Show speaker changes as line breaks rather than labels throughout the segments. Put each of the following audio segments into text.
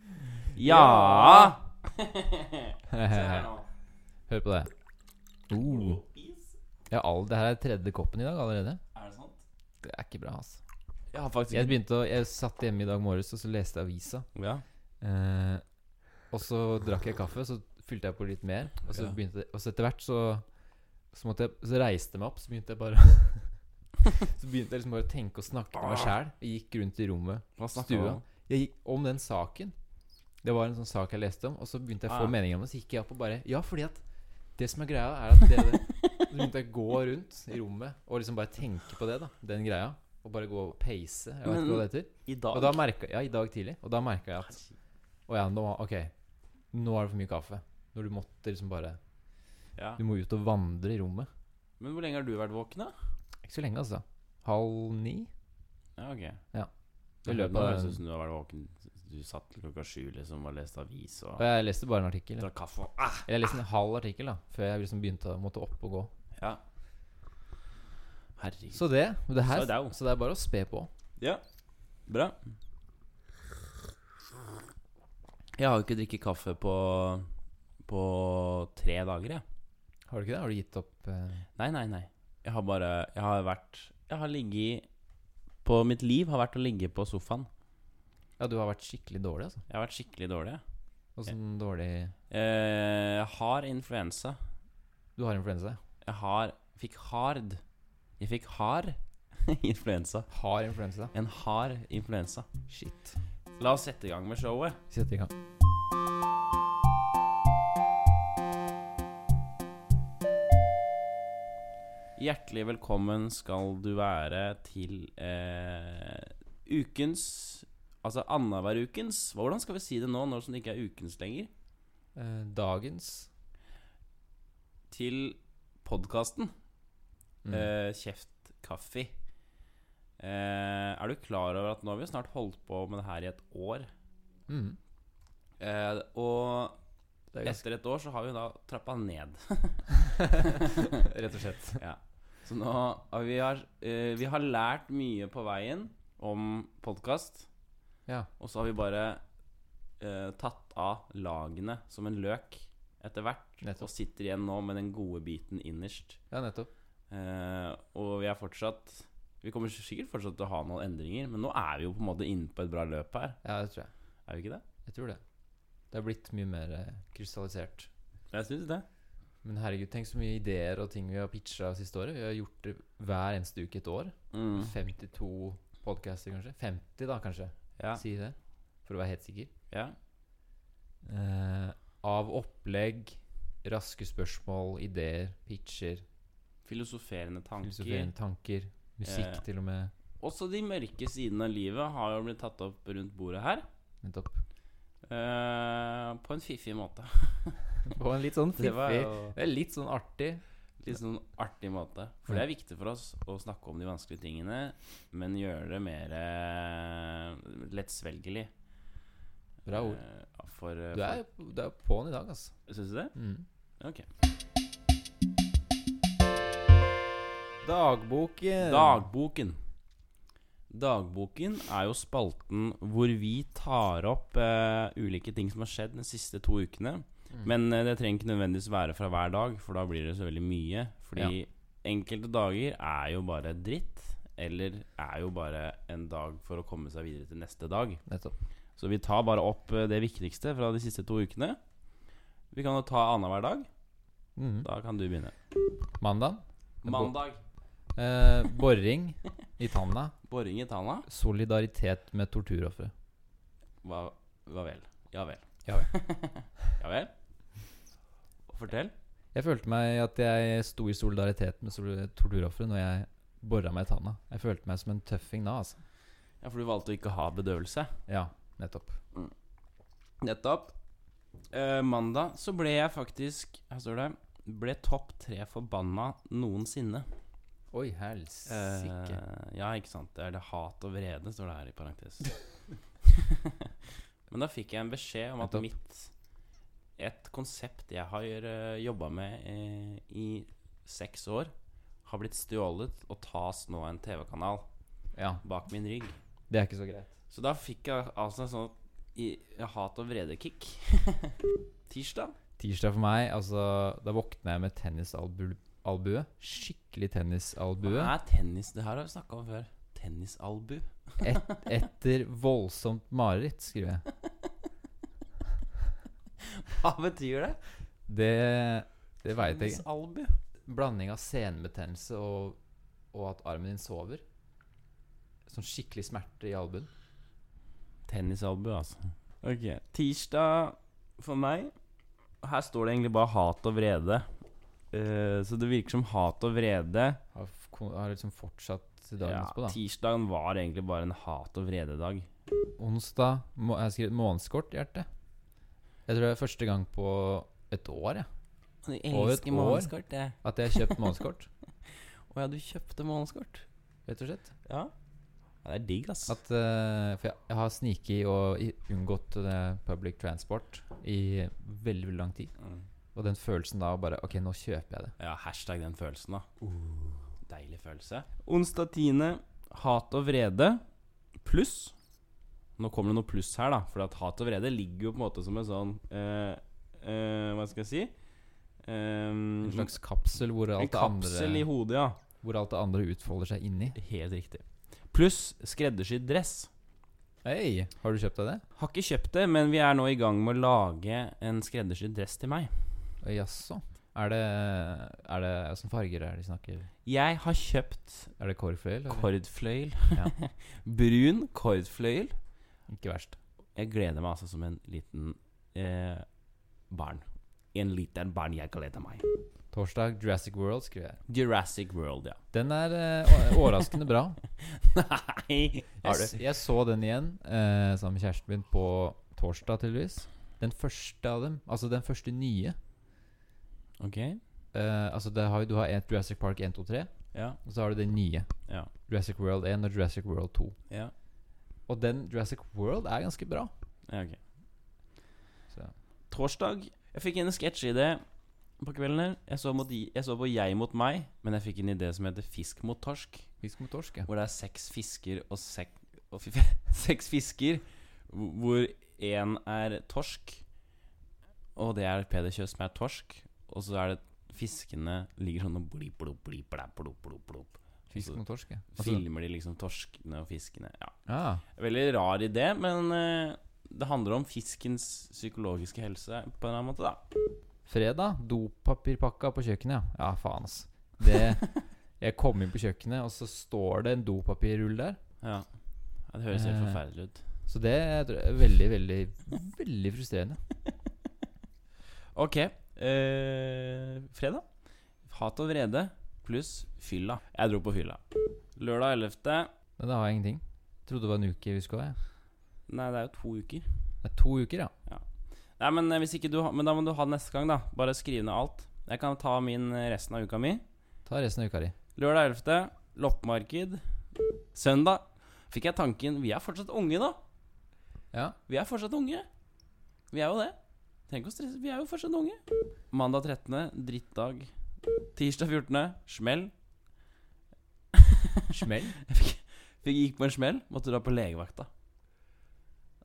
Ja!
Se
Eh,
her nå.
Hør på det.
oh.
Uh.
Is?
Ja, all, det her er tredje koppen i dag allerede.
Er det sant?
Det er ikke bra, altså.
Jeg har faktisk
Jeg begynte å Jeg satt hjemme i dag morges og så leste jeg avisa.
Ja.
Eh, og så drakk jeg kaffe, så fylte jeg på litt mer. Og så,
Ja.
begynte, og så etter hvert så så, måtte jeg, så reiste jeg meg opp, så begynte jeg bare Så begynte jeg liksom bare å tenke og snakke med meg sjæl. Jeg gikk rundt i rommet.
Hva snakker du
Stua.
om?
Jeg gikk om den saken. Det var en sånn sak jeg leste om, og så begynte jeg å få
Ah.
meninger om det. Så gikk jeg opp og bare Ja, fordi at det som er greia, er at det, Så begynte jeg å gå rundt i rommet og liksom bare tenke på det, da. Den greia. Og bare gå og peise. Jeg vet
Men-
ikke hva det heter.
I dag?
Og da merket, ja, i dag tidlig. Og da merka jeg at Å ja, nå, ok, nå er det for mye kaffe. Når du måtte liksom bare
Ja.
Du må ut og vandre i rommet.
Men hvor lenge har du vært våken, da?
Ikke så lenge, altså. Halv ni?
Ja, ok.
I
Det
løpet
høres
av
ut som du har vært våken Du satt til klokka sju liksom og leste avis og
Og jeg leste bare en artikkel.
drakk kaffe og ah!
Eller jeg leste en halv artikkel, da. Før jeg liksom begynte å måtte opp og gå.
Ja. Herregud.
Så det. det her,
Så det er jo.
så det er bare å spe på.
Ja. Bra. Jeg har jo ikke drikket kaffe på På tre dager, jeg.
Har du ikke det? Har du gitt opp eh,
Nei, nei, nei. Jeg har bare Jeg har vært Jeg har ligget På mitt liv har vært å ligge på sofaen.
Ja, du har vært skikkelig dårlig, altså.
Jeg har vært skikkelig dårlig. jeg.
Og sånn dårlig
Eh, Jeg har influensa.
Du har influensa?
Jeg har Fikk hard Jeg fikk hard influensa.
Har influensa?
En hard influensa.
Shit.
La oss sette i gang med showet.
Sett i gang.
Hjertelig velkommen skal du være til eh, ukens Altså annenhver ukens Hvordan skal vi si det nå, når som det ikke er ukens lenger?
Eh, dagens
Til podkasten
Mm.
eh, Kjeft kaffe. Eh, er du klar over at nå har vi snart holdt på med det her i et år?
Mm.
Eh, og
Det er
etter et år så har vi da trappa ned.
ganske Rett og slett.
Så nå har vi, har, eh, vi har lært mye på veien om podkast.
Ja.
Og så har vi bare eh, tatt av lagene som en løk etter hvert.
Nettopp.
Og sitter igjen nå med den gode biten innerst.
Ja, nettopp.
Eh, og vi er fortsatt Vi kommer sikkert fortsatt til å ha noen endringer, men nå er vi jo på en måte inne på et bra løp her.
Ja, det tror jeg.
Er vi ikke det?
Jeg tror det. Det er blitt mye mer eh, krystallisert.
Jeg syns det.
Men herregud, tenk så mye ideer og ting vi har pitcha siste året. Vi har gjort det hver eneste uke et år.
Mm.
52 podcaster, kanskje. 50, da, kanskje.
Ja.
Si det. For å være helt sikker.
ja.
Eh, av opplegg, raske spørsmål, ideer, pitcher,
Filosoferende tanker.
filosoferende tanker, musikk
Eh.
til og med.
Også de mørke sidene av livet har jo blitt tatt opp rundt bordet her.
Nettopp.
eh, på en fiffig måte.
På en litt sånn
Det var
fiffig
jo
Det er litt sånn artig.
litt sånn artig måte. For det er viktig for oss å snakke om de vanskelige tingene, men gjøre det mer eh, lettsvelgelig.
Bra ord.
Eh, For,
Du er, du er på'n i dag, altså.
Syns du det?
Mm.
Ok.
Dagboken.
Dagboken. Dagboken er jo spalten hvor vi tar opp eh, ulike ting som har skjedd de siste to ukene.
Mm.
Men eh, det trenger ikke nødvendigvis være fra hver dag, for da blir det så veldig mye. Fordi enkelte dager er jo bare dritt, eller er jo bare en dag for å komme seg videre til neste dag.
Nettopp.
Så vi tar bare opp eh, det viktigste fra de siste to ukene. Vi kan jo ta annenhver dag.
Mm.
Da kan du begynne.
Mandag.
Mandag.
Eh, boring i tanna.
Boring i tanna.
Solidaritet med torturofre.
Hva, hva vel? Ja vel.
Ja vel.
Ja vel? Fortell.
Jeg følte meg at jeg sto i solidaritet med sol- torturofre når jeg bora meg i tanna. Jeg følte meg som en tøffing da, altså.
Ja, for du valgte å ikke ha bedøvelse.
Ja, nettopp.
Nettopp. Eh, mandag så ble jeg faktisk Her står det. Ble topp tre forbanna noensinne.
Oi,
Eh,
helsike.
ja, ikke sant. Det er det hat og vrede, står det her i parentes. Men da fikk jeg en beskjed om at
Nettopp.
mitt Et konsept jeg har uh, jobba med eh, i seks år, har blitt stjålet og tas nå av en TV-kanal
Ja,
bak min rygg.
det er ikke så greit.
Så da fikk jeg altså en sånn i, jeg hat- og vredekick. Tirsdag.
Tirsdag for meg, altså Da våkner jeg med tennisalbue. Skikkelig tennisalbue.
Hva er tennis? Det her har vi snakka om før. Tennisalbu.
Etter voldsomt mareritt, skriver jeg.
Hva betyr det?
Det, det veit jeg ikke.
Tennisalbu.
Blanding av senebetennelse og, og at armen din sover. Sånn skikkelig smerte i albuen.
Tennisalbu, altså. Ok. Tirsdag for meg Her står det egentlig bare hat og vrede. Eh, så det virker som hat og vrede
Har, f- kon- har liksom fortsatt dagen
ja,
etterpå, da.
Tirsdagen var egentlig bare en hat og vrede-dag.
Onsdag må, Jeg har skrevet månedskort, hjerte. Jeg tror det er første gang på et år jeg,
Jeg
Og et elsker år. månedskort,
jeg.
at jeg har kjøpt månedskort.
Å ja, du kjøpte månedskort.
Rett og slett.
Ja. Det er digg, ass.
At, eh, for jeg, jeg har sniket og i- unngått det public transport i veldig, veldig lang tid.
Mm.
Og den følelsen da bare Ok, nå kjøper jeg det.
Ja, hashtag den følelsen, da. Deilig følelse. Uh. Onsdag 10. Hat og vrede pluss Nå kommer det noe pluss her, da. For at hat og vrede ligger jo på en måte som en sånn eh, eh, Hva skal jeg si?
En
Um,
slags kapsel hvor
en
alt, det
kapsel i
andre,
hodet, ja.
hvor alt det andre utfolder seg inni.
Helt riktig. Pluss skreddersydd dress.
Hei, har du kjøpt deg det?
Har ikke kjøpt det, men vi er nå i gang med å lage en skreddersydd dress til meg.
Å, Eh, Jaså. Er det Er det Åssen farger er det de snakker
Jeg har kjøpt
Er det cornflakes, eller?
kordfløyel.
Ja.
Brun kordfløyel.
Ikke verst.
Jeg gleder meg altså som en liten eh, barn. En liten barn, jeg gleder meg.
Torsdag, Jurassic World, skriver jeg.
Jurassic World, ja.
Den er eh, å- overraskende bra.
Nei!
Jeg, s- jeg så den igjen eh, sammen med kjæresten min på torsdag, tydeligvis. Den første av dem, altså den første nye
Ok.
eh, Altså det har, jo- Du har et Jurassic Park 1, 2, 3,
Ja.
og så har du den nye.
Ja.
Jurassic World 1 og Jurassic World 2.
Ja.
Og den Jurassic World er ganske bra.
ja ok.
Så.
Torsdag. Jeg fikk inn en sketsjeidé på kvelden her. Jeg så, mot, jeg så på Jeg mot meg, men jeg fikk en idé som heter Fisk mot torsk.
Fisk mot torsk, ja.
Hvor det er seks fisker og sek... Og fy, seks fisker hvor- hvor én er torsk, og det er Peder Kjøs som er torsk. Og så er det fiskene ligger sånn og blip, blop, blip, blæ, blop, blop, blop.
Fisk
Altså,
mot torsk, ja. Altså,
Filmer de liksom torskene og fiskene. Ja.
ah,
Veldig rar idé, men eh, det handler om fiskens psykologiske helse på en eller annen måte, da.
fredag, dopapirpakka på kjøkkenet, ja. Ja, faen, ass. Det Jeg kom inn på kjøkkenet, og så står det en dopapirrull der.
Ja. ja det høres helt
Eh.
forferdelig ut.
Så det jeg tror jeg er veldig, veldig, veldig frustrerende.
Ok. Eh, fredag. Hat og vrede pluss fylla. Jeg dro på fylla. Lørdag 11.
Men da har jeg ingenting. Trodde det var en uke vi skulle ha. jeg.
Nei, det er jo to uker.
Det er to uker, ja.
Nei, men eh, hvis ikke du har Men da må du ha det neste gang, da. Bare skriv ned alt. Jeg kan ta min eh, resten av uka mi.
Ta resten av uka di.
Lørdag 11. Loppemarked. Søndag fikk jeg tanken Vi er fortsatt unge, da.
Ja.
Vi er fortsatt unge. Vi er jo det. Tenk å stresse. Vi er jo fortsatt unge. Mandag 13. Drittdag. Tirsdag 14. Smell.
Smell.
Fikk gikk på en smell, måtte dra på legevakta.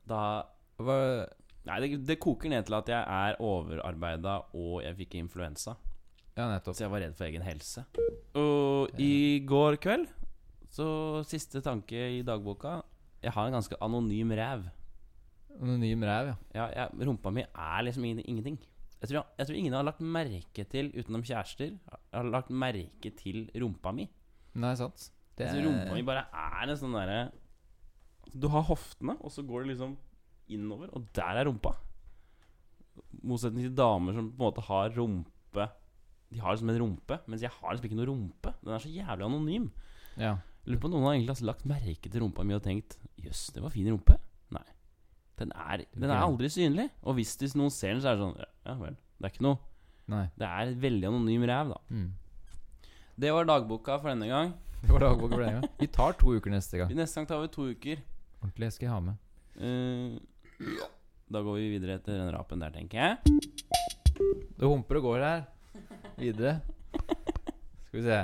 Da
Hva,
Nei, det, det koker ned til at jeg er overarbeida og jeg fikk influensa.
ja, nettopp.
Så jeg var redd for egen helse. Og i går kveld, så siste tanke i dagboka Jeg har en ganske anonym ræv.
Anonym ræv, ja.
Ja, jeg, rumpa mi er liksom ingen- ingenting. Jeg tror, jeg tror ingen har lagt merke til, utenom kjærester, har lagt merke til rumpa mi.
Nei, sant. Det
Altså, rumpa mi bare er en sånn derre Altså, Du har hoftene, og så går det liksom innover, og der er rumpa. Motsetning til damer som på en måte har rumpe De har liksom en rumpe, mens jeg har liksom ikke noe rumpe. Den er så jævlig anonym.
Ja.
Jeg Lurer på om noen har egentlig altså lagt merke til rumpa mi og tenkt Jøss, det var fin rumpe. Nei. Den er, den er aldri synlig. Og hvis hvis noen ser den, så er det sånn Ja vel. Det er ikke noe.
Nei.
Det er et veldig anonym ræv, da.
Mm.
Det var dagboka for denne gang.
Det var dagboka for denne gang. Vi tar to uker neste gang.
Neste gang tar vi to uker.
Ordentlig skal jeg ha med.
Eh, Da går vi videre etter den rapen der, tenker jeg.
Det humper og går her. Videre. Skal vi se.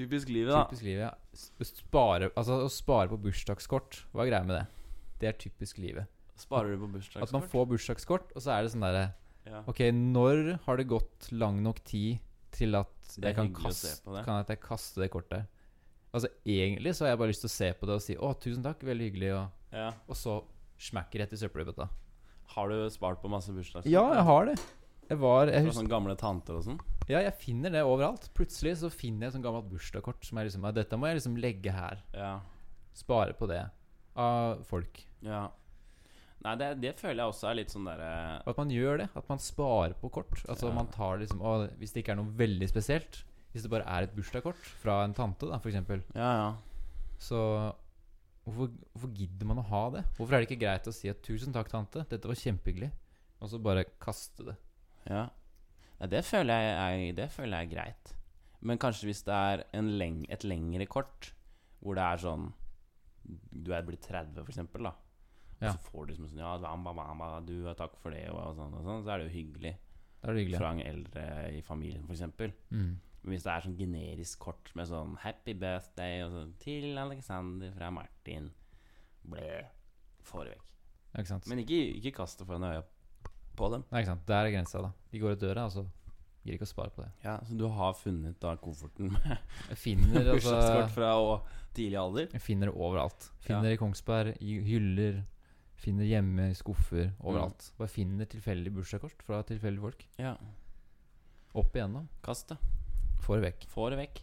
Typisk livet, da.
Typisk livet, ja. S- Spare, altså, å spare på bursdagskort, hva er greia med det? Det er typisk livet.
Sparer du på bursdagskort?
At man får bursdagskort, og så er det sånn derre
ja.
Ok, når har det gått lang nok tid til at
Det er
jeg kan,
hyggelig å se
kaste,
på det.
kan at jeg kaste det kortet? Altså Egentlig så har jeg bare lyst til å se på det og si 'Å, tusen takk, veldig hyggelig', og,
ja.
og så smack rett i søppelbøtta.
Har du spart på masse bursdagskort?
Ja, jeg har det. Jeg var jeg
Fra
husker,
sånne gamle tanter og sånn?
Ja, jeg finner det overalt. Plutselig så finner jeg et sånt gammelt bursdagskort som jeg liksom «Ja, Dette må jeg liksom legge her.
Ja.
Spare på det av folk.
ja. Nei, det, det føler jeg også er litt sånn derre
At man gjør det. At man sparer på kort. Altså
Ja.
man tar liksom å, Hvis det ikke er noe veldig spesielt, hvis det bare er et bursdagskort fra en tante, da, for eksempel,
Ja, ja.
så hvorfor, hvorfor gidder man å ha det? Hvorfor er det ikke greit å si at 'tusen takk, tante, dette var kjempehyggelig', og så bare kaste det?
Ja. Nei, det føler jeg er, det føler jeg er greit. Men kanskje hvis det er en leng, et lengre kort, hvor det er sånn Du er blitt 30, for eksempel, da. Og
Ja.
så får du liksom sånn Ja, bam, bam, bam, bam, du, og takk for det, og, sånn og sånn. Så er det jo hyggelig
Da er det hyggelig.
fra en eldre i familien, for eksempel.
Mm.
Men hvis det er sånn generisk kort med sånn 'Happy birthday' og sånn 'Til Alexander fra Martin' Ble Får det vekk.
Ja, Ikke sant?
Men ikke, ikke kast det foran øya på dem.
Nei, ikke sant. Der er grensa, da. De går ut døra, og så gir de ikke å spare på det.
Ja, Så du har funnet da kofferten med
Jeg finner, altså,
Bursdagskort fra og tidlig alder.
jeg finner det overalt. Finner i Kongsberg, i hyller, finner hjemme, i skuffer, overalt. Bare finner tilfeldig bursdagskort fra tilfeldige folk.
Ja.
Opp igjennom.
Kast det.
Får det vekk.
Få det vekk.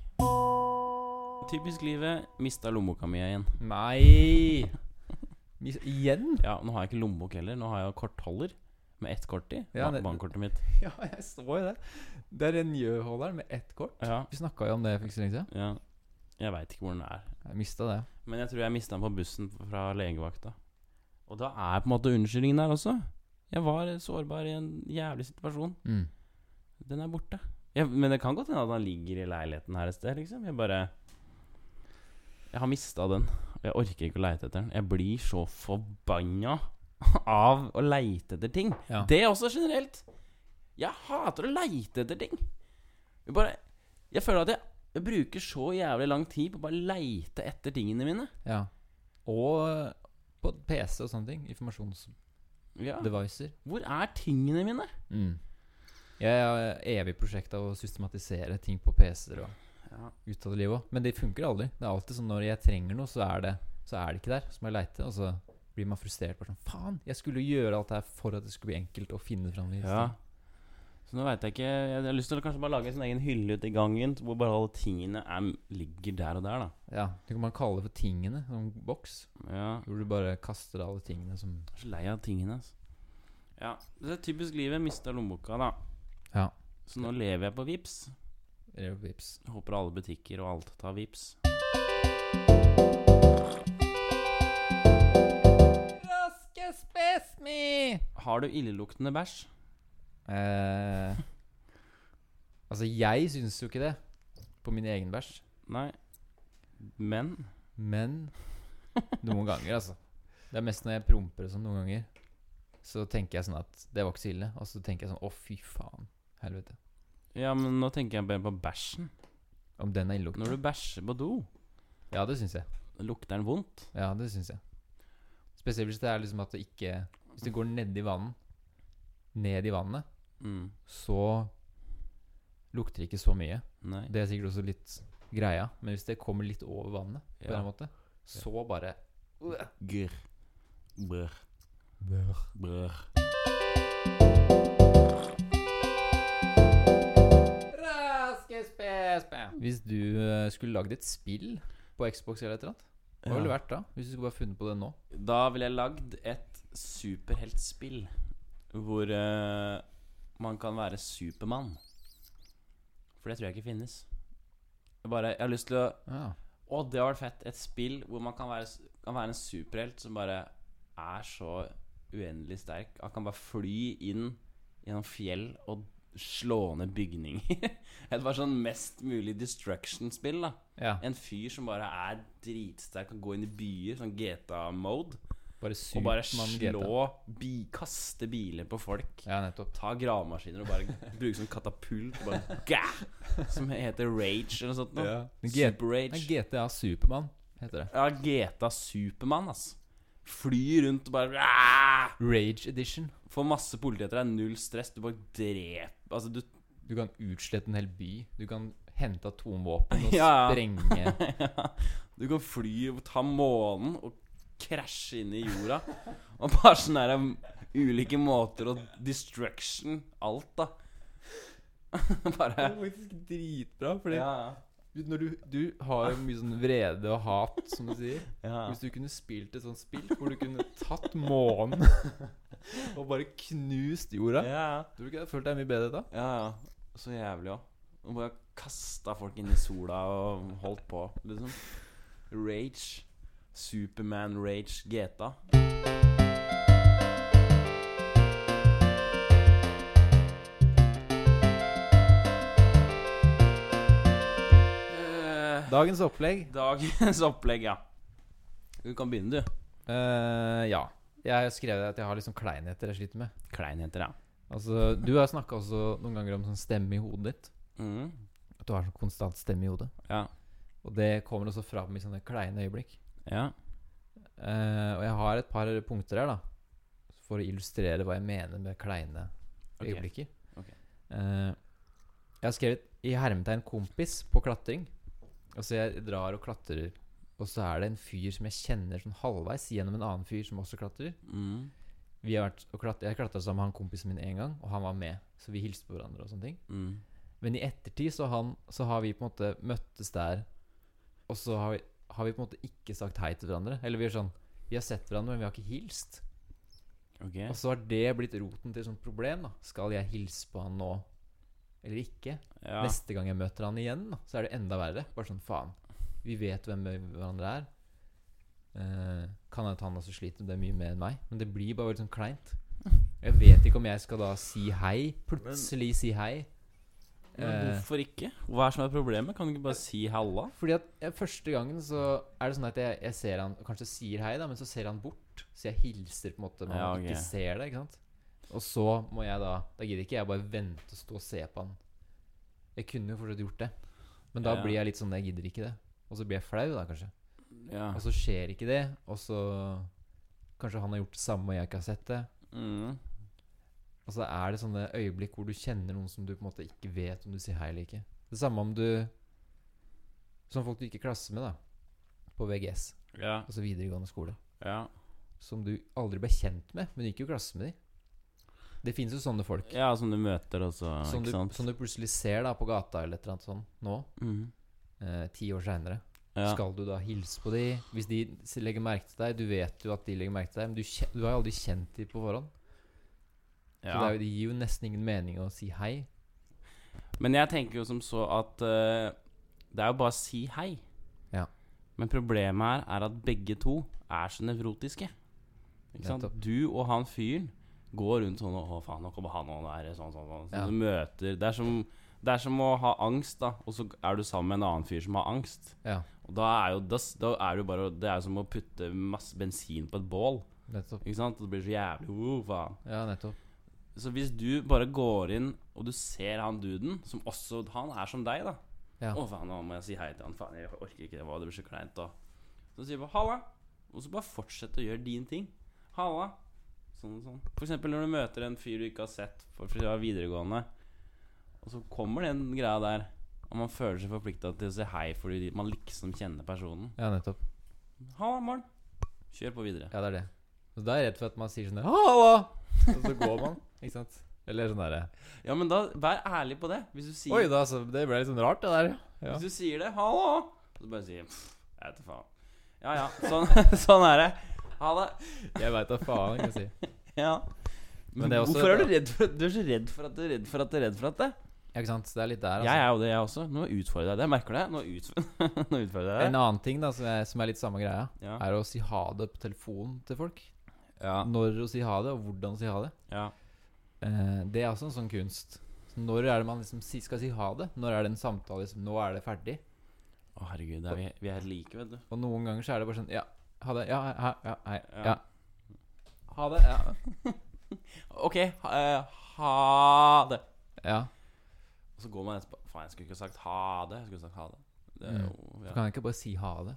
Typisk livet. Mista lommeboka mi igjen.
Nei! Mis igjen?
Ja, Nå har jeg ikke lommebok heller. Nå har jeg kortholder med ett kort i.
Ja,
ba-
det-
Bankkortet mitt.
Ja, jeg så jo det. Det er en njøholderen med ett kort.
Ja,
Vi snakka jo om det for ikke så lenge siden.
ja. Jeg veit ikke hvor den er.
Jeg mista det.
Men jeg tror jeg mista den på bussen fra legevakta. Og da er på en måte unnskyldningen der også. Jeg var sårbar i en jævlig situasjon.
Mm.
Den er borte. Ja, men det kan godt hende at han ligger i leiligheten her et sted, liksom. Jeg bare Jeg har mista den. og Jeg orker ikke å leite etter den. Jeg blir så forbanna av å leite etter ting.
Ja.
Det er også generelt. Jeg hater å leite etter ting. Jeg bare Jeg føler at jeg, jeg bruker så jævlig lang tid på å bare leite etter tingene mine.
ja. Og eh, på PC og sånne ting. Informasjonsdevicer.
Ja. Hvor er tingene mine?
Mm. Jeg har evig prosjekt av å systematisere ting på PC-er og
Ja.
ut av det livet òg. Men det funker aldri. Det er alltid sånn når jeg trenger noe, så er det, så er det ikke der. Så må jeg leite, og så blir man frustrert. Bare sånn Faen, jeg skulle jo gjøre alt det her for at det skulle bli enkelt å finne fram. i
Ja.
stedet.»
Så nå veit jeg ikke Jeg har lyst til å kanskje bare lage en sånn egen hylle ute i gangen hvor bare alle tingene er, ligger der og der, da.
ja. Det kan man kalle det for tingene. Sånn boks.
Ja.
Hvor du bare kaster alle tingene som
Jeg er så lei av tingene, altså. Ja. Det er typisk livet. Mista lommeboka, da.
Ja.
Så nå lever jeg på Vips
eller vips.
Jeg Håper alle butikker og alt tar Vips
Raske spesmi!
Har du illeluktende bæsj?
Eh, altså, jeg syns jo ikke det. På min egen bæsj.
Nei. Men
Men noen ganger, altså. Det er mest når jeg promper og sånn noen ganger. Så tenker jeg sånn at det var ikke så ille. Og så tenker jeg sånn å, fy faen. Helvete.
Ja, men nå tenker jeg bare på bæsjen.
Om den er illelukt.
Når du bæsjer på do,
Ja, det syns jeg.
lukter den vondt.
Ja, det syns jeg. Spesielt hvis det er liksom at det ikke Hvis det går nedi vannet, ned i vannet,
Mm.
så lukter det ikke så mye.
Nei.
Det er sikkert også litt greia. Men hvis det kommer litt over vannet, på en
Ja.
eller annen måte, så bare
Grr. Brr. Brr.
Hvis du eh, skulle lagd et spill på Xbox eller et eller annet, hva ville det vært da? Hvis du skulle bare funnet på det nå?
Da ville jeg lagd et superheltspill hvor eh, man kan være Supermann. For det tror jeg ikke finnes. Jeg bare, jeg har lyst til å
Ja.
Å, det hadde vært fett. Et spill hvor man kan være, s- kan være en superhelt som bare er så uendelig sterk. Han kan bare fly inn gjennom fjell og slå ned bygninger. Et bare sånn mest mulig destruction-spill, da.
ja.
En fyr som bare er dritsterk, kan gå inn i byer, sånn GTA-mode.
Bare
Og bare
Supermann GT.
slå bi, Kaste biler på folk.
Ja, nettopp.
Ta gravemaskiner og bare bruke sånn katapult. Bare, gæ, som heter Rage eller noe sånt. noe.
Men G-
Super Rage.
Nei, GTA Supermann heter det.
Ja, GTA Supermann, ass. flyr rundt og bare "Ah!"
Rage edition.
Får masse politi etter deg, null stress. Du bare dreper Altså, du
Du kan utslette en hel by. Du kan hente atomvåpen og
Ja, ja.
sprenge
Ja. Du kan fly og ta månen og krasje inn i jorda. Og bare sånn der um, ulike måter og destruction. Alt, da. bare
er faktisk dritbra, fordi
ja,
når du, du har jo mye sånn vrede og hat, som du sier.
ja.
Hvis du kunne spilt et sånt spill hvor du kunne tatt månen og bare knust
ja.
jorda
ja.
Tror du ikke jeg følte deg mye bedre da?
Ja, ja. Så jævlig òg. Og bare kasta folk inn i sola og holdt på, liksom. Rage. Superman-rage GTA. Eh,
Dagens opplegg?
Dagens opplegg, ja. Du kan begynne, du.
Eh, ja. Jeg har skrevet at jeg har liksom kleinheter jeg sliter med.
Kleinheter, ja.
Altså, Du har snakka også noen ganger om sånn stemme i hodet ditt.
Mm.
At du har sånn konstant stemme i hodet.
Ja.
Og det kommer også fram i sånne kleine øyeblikk.
Ja.
Eh, og jeg har et par punkter her, da. For å illustrere hva jeg mener med kleine
Ok.
øyeblikker.
Ok.
Eh, jeg har skrevet i hermetegn 'kompis' på klatring. Altså jeg drar og klatrer, og så er det en fyr som jeg kjenner sånn halvveis gjennom en annen fyr som også klatrer.
Mm.
Vi har vært og klat- Jeg klatra sammen med han kompisen min en gang, og han var med. Så vi hilste på hverandre og sånne ting.
Mm.
Men i ettertid så, han, så har vi på en måte møttes der, og så har vi, har vi på en måte ikke sagt hei til hverandre. Eller vi er sånn Vi har sett hverandre, men vi har ikke hilst.
Ok.
Og så har det blitt roten til et sånt problem. da Skal jeg hilse på han nå eller ikke?
Ja.
Neste gang jeg møter han igjen, da, så er det enda verre. Bare sånn faen. Vi vet hvem vi- hverandre er. Eh, kan hende at han også sliter med det mye mer enn meg, men det blir bare veldig sånn kleint. Jeg vet ikke om jeg skal da si hei. Plutselig si hei.
Men
Eh,
hvorfor ikke? Hva er som er problemet? Kan du ikke bare si halla?
Fordi at jeg, Første gangen så er det sånn at jeg, jeg ser han Kanskje sier hei, da, men så ser han bort. Så jeg hilser på en måte, men
Ja,
han
ok.
ikke ser det. ikke sant? Og så må jeg da Da gidder ikke jeg bare vente og stå og se på han. Jeg kunne jo fortsatt gjort det, men da
Ja.
blir jeg litt sånn Jeg gidder ikke det. Og så blir jeg flau, da, kanskje.
Ja.
Og så skjer ikke det, og så Kanskje han har gjort det samme, og jeg ikke har sett det.
Mm.
Og så er det sånne øyeblikk hvor du kjenner noen som du på en måte ikke vet om du sier hei eller ikke. Det samme om du Som folk du gikk i klasse med, da. På VGS,
Ja.
altså videregående skole.
Ja.
Som du aldri ble kjent med, men du gikk jo i klasse med de. Det fins jo sånne folk.
ja, som du møter også,
som, du,
ikke sant?
som du plutselig ser da på gata eller et eller annet sånt nå,
Mm.
eh, ti år seinere.
Ja.
Skal du da hilse på de hvis de s- legger merke til deg? Du vet jo at de legger merke til deg, men du, kje- du har jo aldri kjent de på forhånd. Så
ja.
det, er jo, det gir jo nesten ingen mening å si hei.
Men jeg tenker jo som så at eh, det er jo bare å si hei.
Ja.
Men problemet her er at begge to er så nevrotiske. Ikke sant?
Nettopp.
Du og han fyren går rundt sånn og, Å, faen, nå kommer han og der sånn, sånn, sånn. Så
Ja.
du møter det er, som, det er som å ha angst, da, og så er du sammen med en annen fyr som har angst.
Ja,
Og da er jo da, s- da er det jo bare å- Det er jo som å putte masse bensin på et bål.
nettopp.
Ikke sant? Det blir så jævlig wow, faen.
Ja, nettopp.
Så hvis du bare går inn og du ser han duden, som også Han er som deg, da.
Ja.
Å, faen, nå må jeg si hei til han. Faen, jeg orker ikke det. hva, Det blir så kleint. da Så sier du bare 'halla', og så bare fortsett å gjøre din ting. Halla. Sånn og sånn. For eksempel når du møter en fyr du ikke har sett på fra videregående, og så kommer den greia der, og man føler seg forplikta til å si hei fordi man liksom kjenner personen.
Ja, nettopp.
'Halla, morn'. Kjør på videre.
Ja, det er det. Så da er jeg redd for at man sier sånn der, Hallo! Og så går man, ikke sant? Eller sånn derre
Ja, men da vær ærlig på det. Hvis du sier
Oi da, så det ble litt sånn rart, det der. Ja.
Hvis du sier det 'hallo', så bare sier jeg «Pff, Jeg vet da faen. Ja ja, sånn, sånn er det. Ha det.
Jeg veit da faen, kan jeg si.
Ja.
Men det er også-
Hvorfor er du redd for Du er så redd for at du er redd for at du er redd for at det
Ja, ikke sant? Så det er litt der,
Jeg
altså.
er jo det, jeg også. Nå utfordrer jeg deg. Jeg merker det. Nå, utfordrer, Nå utfordrer jeg
En
deg.
annen ting da, som er, som er litt samme greia,
Ja.
er å si ha det på telefonen til folk.
Ja.
Når å si ha det, og hvordan å si ha det.
ja.
Eh, det er også en sånn kunst. Så når er det man liksom si, skal si ha det? Når er det en samtale liksom Nå er det ferdig.
Å, herregud. Det er vi, vi er helt like, vet du.
Og noen ganger så er det bare sånn Ja, ha det. Ja, hei. Ja, hei.
Ja.
Ja. Ha det. Ja.
OK. Ha, eh, ha det.
ja.
Og så går man etterpå. Faen, jeg skulle ikke sagt ha det. Jeg skulle sagt ha det. Det er
Mm.
jo
Du
ja.
kan ikke bare si ha det.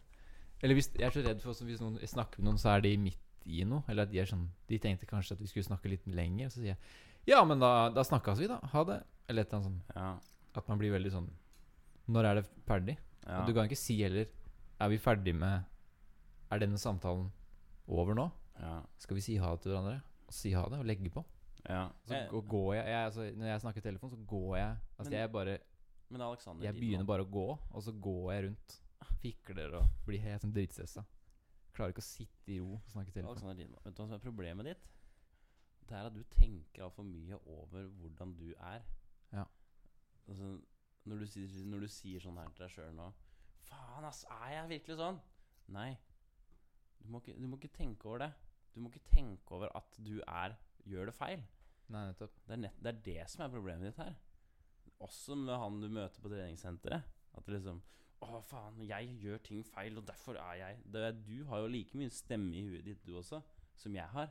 Eller hvis, jeg er så redd for også hvis noen jeg snakker med noen, så er de midt i noe. Eller at de er sånn De tenkte kanskje at vi skulle snakke litt lenger. Så sier jeg ja, men da, da snakkes vi, da. Ha det. Eller et eller annet sånn.
Ja.
At man blir veldig sånn Når er det ferdig?
ja.
Og du kan ikke si heller Er vi ferdig med Er denne samtalen over nå?
ja.
Skal vi si ha det til hverandre? Og si ha det, og legge på.
ja.
Så
Eh,
gå- går jeg, jeg altså, Når jeg snakker i telefon, så går jeg Altså
Men-
jeg bare
Men Alexander
Jeg
din
begynner
nå.
bare å gå, og så går jeg rundt. Fikler og blir helt sånn dritstressa. Klarer ikke å sitte i ro og snakke i telefon.
Alexander Riedemann, vet du hva som er problemet ditt? Det er at du tenker altfor mye over hvordan du er.
Ja.
Altså, når, du sier, når du sier sånn her til deg sjøl nå Faen, ass, er jeg virkelig sånn? Nei. Du må, ikke, du må ikke tenke over det. Du må ikke tenke over at du er gjør det feil.
Nei, nettopp.
Det er, nett, det er det som er problemet ditt her. Også med han du møter på treningssenteret. At det liksom Å, faen, jeg gjør ting feil, og derfor er jeg det er, Du har jo like mye stemme i huet ditt, du også, som jeg har.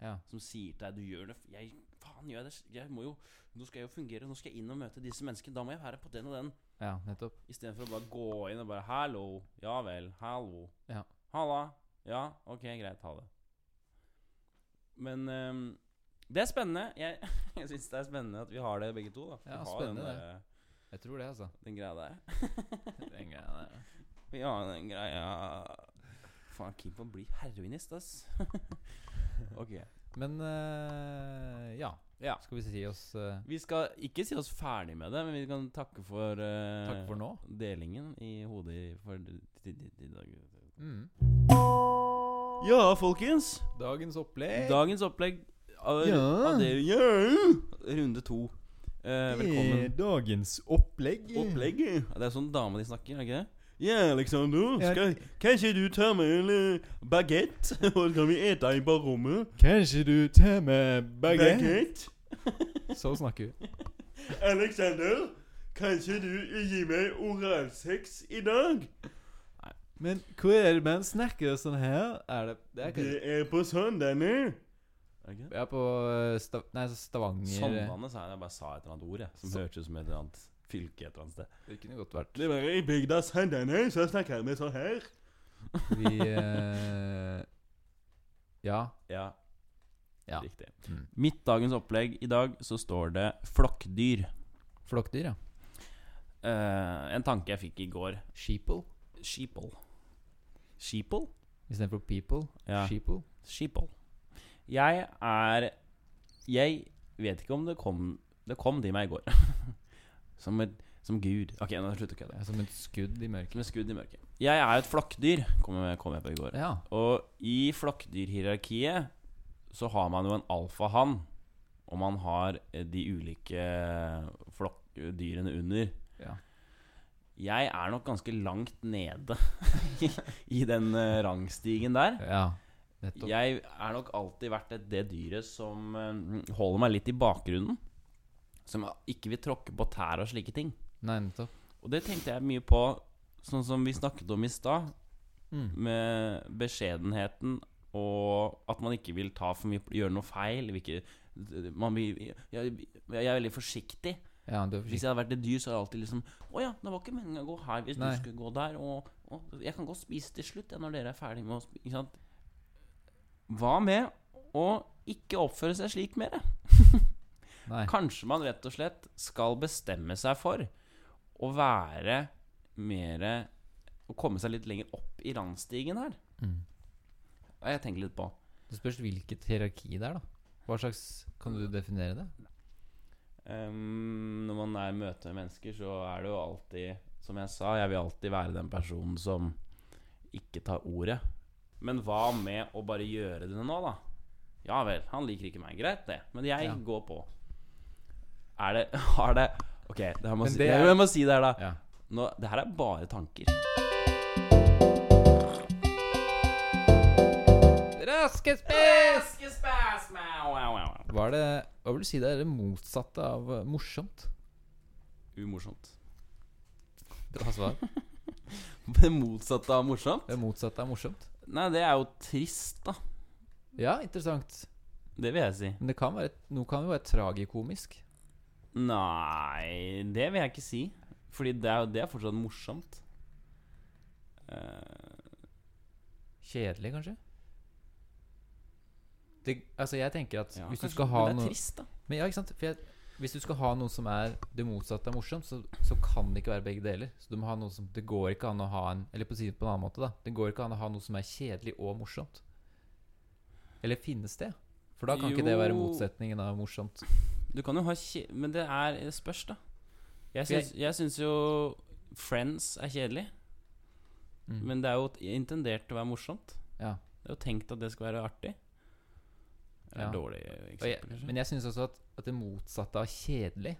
Ja.
Som sier til deg Du gjør det f- jeg, Faen, gjør jeg det s- Jeg må jo Nå skal jeg jo fungere. Nå skal jeg inn og møte disse menneskene. Da må jeg være på den og den.
ja, nettopp.
Istedenfor å bare gå inn og bare Hallo. Ja vel. Hallo.
Ja.
Halla. Ja, ok, greit. Ha det. Men ehm, det er spennende. Jeg, jeg syns det er spennende at vi har det begge to. da Vi
Ja,
har
spennende
den,
det.
der-
Jeg tror det, altså.
den greia der.
Den greia der.
Vi har den greia Faen, Kim får bli heroinist, ass. ok.
Men eh, ja.
Ja.
Skal vi si oss eh,
Vi skal ikke si oss ferdig med det, men vi kan takke for, eh,
takk for nå?
delingen i hodet i- for i dag.
Mm.
Ja, folkens.
Dagens opplegg.
Dagens opplegg av,
Ja.
av det, Eh. ja. Runde to. Eh, velkommen.
Dagens opplegg.
Opplegg. Ja, Det er sånn dama de snakker, er det ikke det? Ja, Alexander,
Ja.
skal, kanskje du tar med en eh, baguette, og så kan vi ete i barrommet?
Kanskje du tar med
Baguette?
Så snakker vi.
Alexander, kanskje du gir meg oralsex i dag?
Men hva er det man snakker sånn her? Er det Det er ikke
er på søndagene. Er det ikke det?
Jeg er på eh, Stav nei, så Stavanger
Sandane sa jeg, jeg bare sa et eller annet ord, jeg, som
Så-
hørtes ut som et eller annet fylke et eller annet sted.
Det kunne godt vært.
Det var i bygda Sandane, så snakker vi sånn her.
Vi eh, Ja.
Ja.
Ja.
Riktig.
Mm.
Mitt dagens opplegg i dag så står det flokkdyr.
Flokkdyr, ja.
Eh, en tanke jeg fikk i går.
Sheeple
Sheeple. Sheeple?
istedenfor people.
Ja.
Sheeple.
Sheeple. Jeg er Jeg vet ikke om det kom Det kom til meg i går. som, et, som gud. Ok, nå slutter jeg å
Det
kødde.
er som et skudd i mørket.
Som et skudd i mørket. Jeg er jo et flokkdyr, kom jeg, kom jeg på i går.
Ja.
Og i flokkdyrhierarkiet så har man jo en alfahann, og man har eh, de ulike eh, flokkdyrene under.
Ja.
Jeg er nok ganske langt nede i, i den eh, rangstigen der.
ja. Nettopp.
Jeg er nok alltid vært det, det dyret som eh, holder meg litt i bakgrunnen. Som ikke vil tråkke på tær og slike ting.
Nei, nettopp.
Og det tenkte jeg mye på, sånn som vi snakket om i stad
Mm.
med beskjedenheten og at man ikke vil ta for mye, gjøre noe feil. Vil ikke, man vil, jeg, jeg er veldig forsiktig.
Ja, du
Hvis
er forsiktig.
jeg hadde vært et dyr, så hadde jeg alltid liksom Å ja, det var ikke meningen å gå her hvis
Nei.
du skulle gå der. Og, og jeg kan godt spise til slutt jeg, når dere er ferdig med å spise. Ikke sant? Hva med å ikke oppføre seg slik mer?
Nei.
Kanskje man rett og slett skal bestemme seg for å være mer Å komme seg litt lenger opp i randstigen her.
Mm.
Ja, Jeg tenker litt på
Det spørs hvilket hierarki det er, da. Hva slags Kan du definere det?
Ehm, Når man er i møte med mennesker Så er det jo alltid Som jeg sa, jeg vil alltid være den personen som Ikke tar ordet Men hva med å bare gjøre det nå da Ja vel, han liker ikke meg Greit det, men jeg
Ja.
går på Er det, har det Ok, det her må
Men
si,
det er-
jeg må si det her da
Ja.
nå, Det her er bare tanker
Raske spes!
Wow.
Hva er det Hva vil du si det er det motsatte av eh, morsomt?
Umorsomt
Bra svar.
Det motsatte av morsomt
Det motsatte er morsomt.
Nei, det er jo trist da
Ja, interessant.
Det vil jeg si
Men det kan være Noe kan jo være tragikomisk.
Nei, det vil jeg ikke si. Fordi det er, jo- det er fortsatt morsomt. Eh,
Kjedelig, kanskje? Det, altså jeg tenker at
Ja,
hvis
kanskje,
du skal ha
men det er
noe
trist, da.
Men ja, ikke sant? For jeg, hvis du skal ha noe som er det motsatte av morsomt, så, så kan det ikke være begge deler. Så du må ha noe som Det går ikke an å ha en Eller på å si det på en annen måte, da. Det går ikke an å ha noe som er kjedelig og morsomt. Eller finnes det? For da kan ikke det være
Jo.
motsetningen av morsomt.
Du kan jo ha kje... Men det er det spørs, da. Jeg
For jeg-
syns, jeg syns jo Friends er kjedelig,
Mm.
men det er jo t- intendert å være morsomt.
Ja.
Det er jo tenkt at det skal være artig. Det er
Ja.
et dårlig
Og jeg,
eksempel, kanskje.
men jeg syns også at, at det motsatte av kjedelig,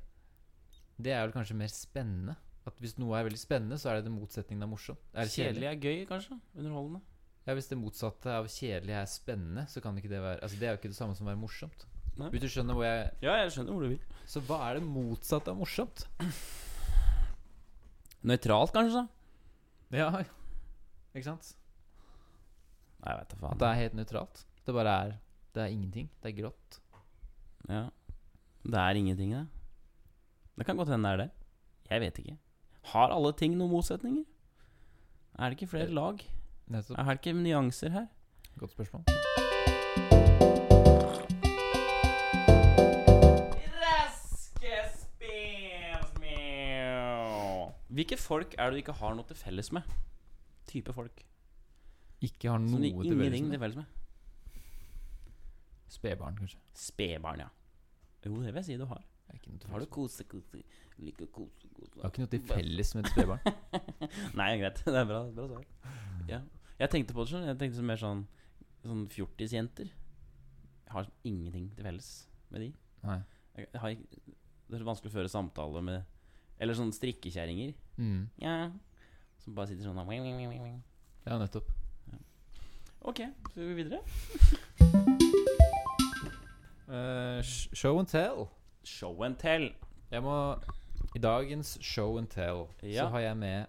det er vel kanskje mer spennende. At hvis noe er veldig spennende, så er det det motsetningen av morsomt. Er det
kjedelig
kjedelig?
er gøy, kanskje? Underholdende.
Ja, hvis det motsatte av kjedelig er spennende, så kan ikke det være Altså, det er jo ikke det samme som å være morsomt.
Nei.
Hvis du skjønner hvor jeg
Ja, jeg skjønner hvor du vil.
Så hva er det motsatte av morsomt?
Nøytralt, kanskje? da?
Ja, ikke sant?
Nei, jeg vet da
At
faen.
det er helt nøytralt. Det bare er Det er ingenting. Det er grått.
Ja. Det er ingenting, det. Det kan godt hende det er det. Jeg vet ikke. Har alle ting noen motsetninger? Er det ikke flere lag?
Nettopp.
Er det ikke nyanser her?
Godt spørsmål.
Raske spelsmjau.
Hvilke folk er det du ikke har noe til felles med? Type folk.
Ikke har noe
Som du
til
ingenting
felles
til
med
felles med.
spedbarn, kanskje.
Spedbarn, ja. Jo, det vil jeg si du har.
Det er Ikke noe til
Har du
felles.
kose, kose, like kose, kose.
Jeg har ikke noe til felles med et spedbarn.
Nei, greit. Det er bra, bra svar. Ja. Jeg tenkte på det sånn. Jeg tenkte så mer sånn Sånn fjortisjenter. Jeg har ingenting til felles med de.
Nei.
Jeg jeg har ikke, det er så vanskelig å føre samtale med Eller sånne strikkekjerringer.
Mm.
Ja. Som bare sitter sånn og-
Ja, nettopp.
Ok, så går vi videre.
Eh, sh- show and tell.
Show and tell.
Jeg må I dagens show and tell
Ja.
så har jeg med